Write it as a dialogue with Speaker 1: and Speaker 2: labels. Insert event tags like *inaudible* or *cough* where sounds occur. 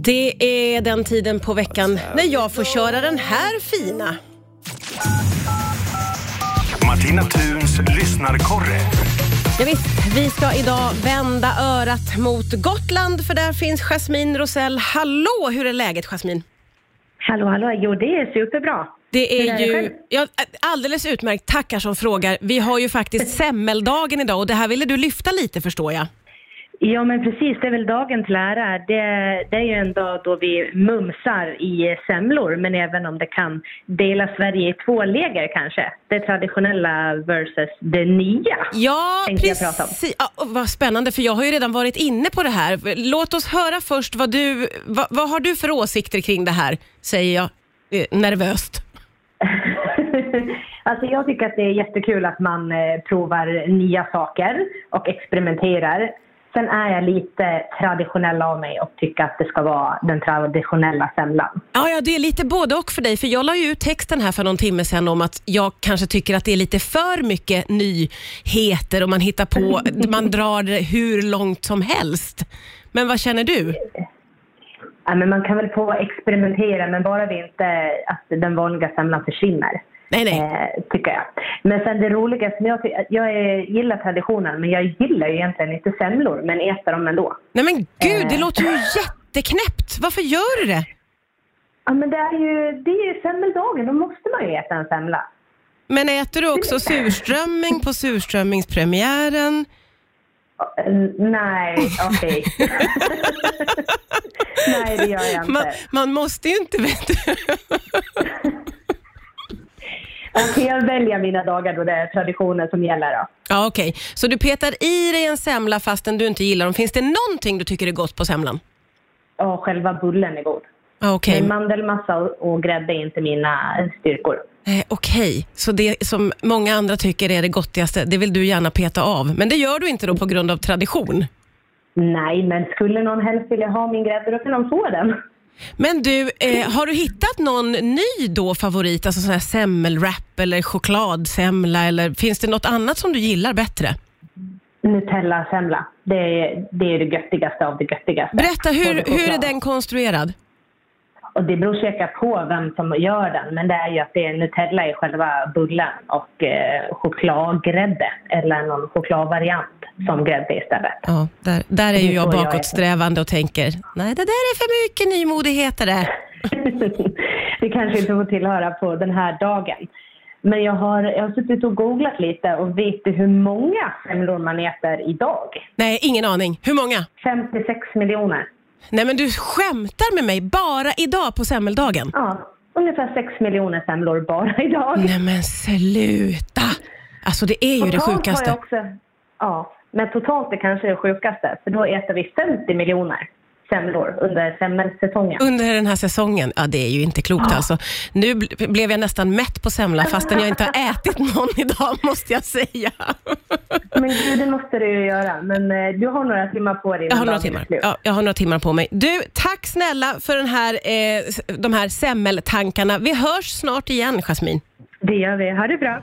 Speaker 1: Det är den tiden på veckan när jag får köra den här fina.
Speaker 2: Martina Thuns lyssnarkorre.
Speaker 1: Ja, visst, vi ska idag vända örat mot Gotland för där finns Jasmine Rosell. Hallå, hur är läget Jasmine?
Speaker 3: Hallå, hallå. Jo, det är superbra.
Speaker 1: Det
Speaker 3: Hur
Speaker 1: är
Speaker 3: är det själv?
Speaker 1: ju ja, alldeles utmärkt, tackar som frågar. Vi har ju
Speaker 3: *laughs*
Speaker 1: faktiskt semmeldagen idag och det här ville du lyfta lite förstår jag.
Speaker 3: Ja, men precis. Det är väl dagen till ära. Det, det är ju en dag då vi mumsar i semlor, men även om det kan dela Sverige i två läger kanske. Det traditionella versus det nya. *laughs*
Speaker 1: Ja,
Speaker 3: Tänkte jag prata om.
Speaker 1: precis. Ja, och vad spännande, för jag har ju redan varit inne på det här. Låt oss höra först vad du, vad, vad har du för åsikter kring det här, säger jag eh, nervöst.
Speaker 3: alltså jag tycker att det är jättekul att man eh, provar nya saker och experimenterar. Sen är jag lite traditionell av mig och tycker att det ska vara den traditionella semlan.
Speaker 1: Ja, ja, det är lite både och för dig, för jag la ju ut texten här för någon timme sedan om att jag kanske tycker att det är lite för mycket nyheter och man hittar
Speaker 3: *laughs*
Speaker 1: på, man drar det hur långt som helst. Men vad känner du?
Speaker 3: Ja, men man kan väl få experimentera, men bara vi inte att den vanliga semlan försvinner.
Speaker 1: Nej, nej.
Speaker 3: Eh, tycker jag. Men sen det roliga, som jag, ty- jag eh, gillar traditionen, men jag gillar ju egentligen inte semlor, men äter dem ändå.
Speaker 1: Nej men gud, det
Speaker 3: Eh.
Speaker 1: låter ju jätteknäppt. Varför gör du det?
Speaker 3: Ja, men det är ju, det är ju semmeldagen, då måste man ju äta en semla.
Speaker 1: Men äter du också surströmming på surströmmingspremiären?
Speaker 3: Eh, Nej,
Speaker 1: *laughs*
Speaker 3: okej. *laughs* Nej, det gör jag inte.
Speaker 1: Man, man måste ju inte veta.
Speaker 3: Okej, jag väljer mina dagar då det är traditionen som gäller. Då.
Speaker 1: Ja, okej. Så du petar i dig en semla fastän du inte gillar dem. Finns det någonting du tycker är gott på semlan?
Speaker 3: Och själva bullen är god.
Speaker 1: Ja, Okej,
Speaker 3: Men mandelmassa och, och grädde är inte mina styrkor.
Speaker 1: Eh, okej. så det som många andra tycker är det gottigaste, det vill du gärna peta av. Men det gör du inte då på grund av tradition?
Speaker 3: Nej, men skulle någon helst vilja ha min grädde, då kan de få den.
Speaker 1: Men du, eh, har du hittat någon ny då favorit? Alltså sån här semmelwrap eller chokladsemla eller finns det något annat som du gillar bättre?
Speaker 3: Nutella-semla. Det är, det är det göttigaste av det göttigaste.
Speaker 1: Berätta, hur,
Speaker 3: Både
Speaker 1: hur är
Speaker 3: choklad.
Speaker 1: den konstruerad?
Speaker 3: Och det beror säkert på vem som gör den, men det är ju att det är Nutella i själva bullen och eh, chokladgrädde, eller någon chokladvariant som grädde istället. *laughs*
Speaker 1: Ja, där, där är
Speaker 3: Det
Speaker 1: ju
Speaker 3: är
Speaker 1: jag
Speaker 3: så jag
Speaker 1: bakåtsträvande och tänker, nej det där är för mycket nymodigheter det.
Speaker 3: det kanske inte får tillhöra på den här dagen. Men jag har, jag har suttit och googlat lite och vet du hur många semlor man äter idag?
Speaker 1: Nej, ingen aning. Hur många?
Speaker 3: 56 miljoner.
Speaker 1: Nej men du skämtar med mig, bara idag på semmeldagen?
Speaker 3: Ja, ungefär 6 miljoner semlor bara *laughs* idag.
Speaker 1: Nej men sluta! Alltså det är ju det
Speaker 3: Totalt har jag
Speaker 1: sjukaste.
Speaker 3: också, ja, men totalt är kanske det sjukaste, för då äter vi 50 miljoner semlor under semmelsäsongen.
Speaker 1: Under den här säsongen, ja det är ju inte klokt alltså. Nu bl- blev jag nästan mätt på semla fastän jag inte har ätit någon *laughs* idag måste jag säga.
Speaker 3: Men gud, det måste du ju göra. Men eh, du har några timmar på dig
Speaker 1: Jag
Speaker 3: innan
Speaker 1: har, några
Speaker 3: dagen är
Speaker 1: timmar.
Speaker 3: slut.
Speaker 1: Ja, jag har några timmar på mig. Du, tack snälla för den här, eh, s- de här semmeltankarna. Vi hörs snart igen, Jasmin.
Speaker 3: Det gör vi. Ha det bra.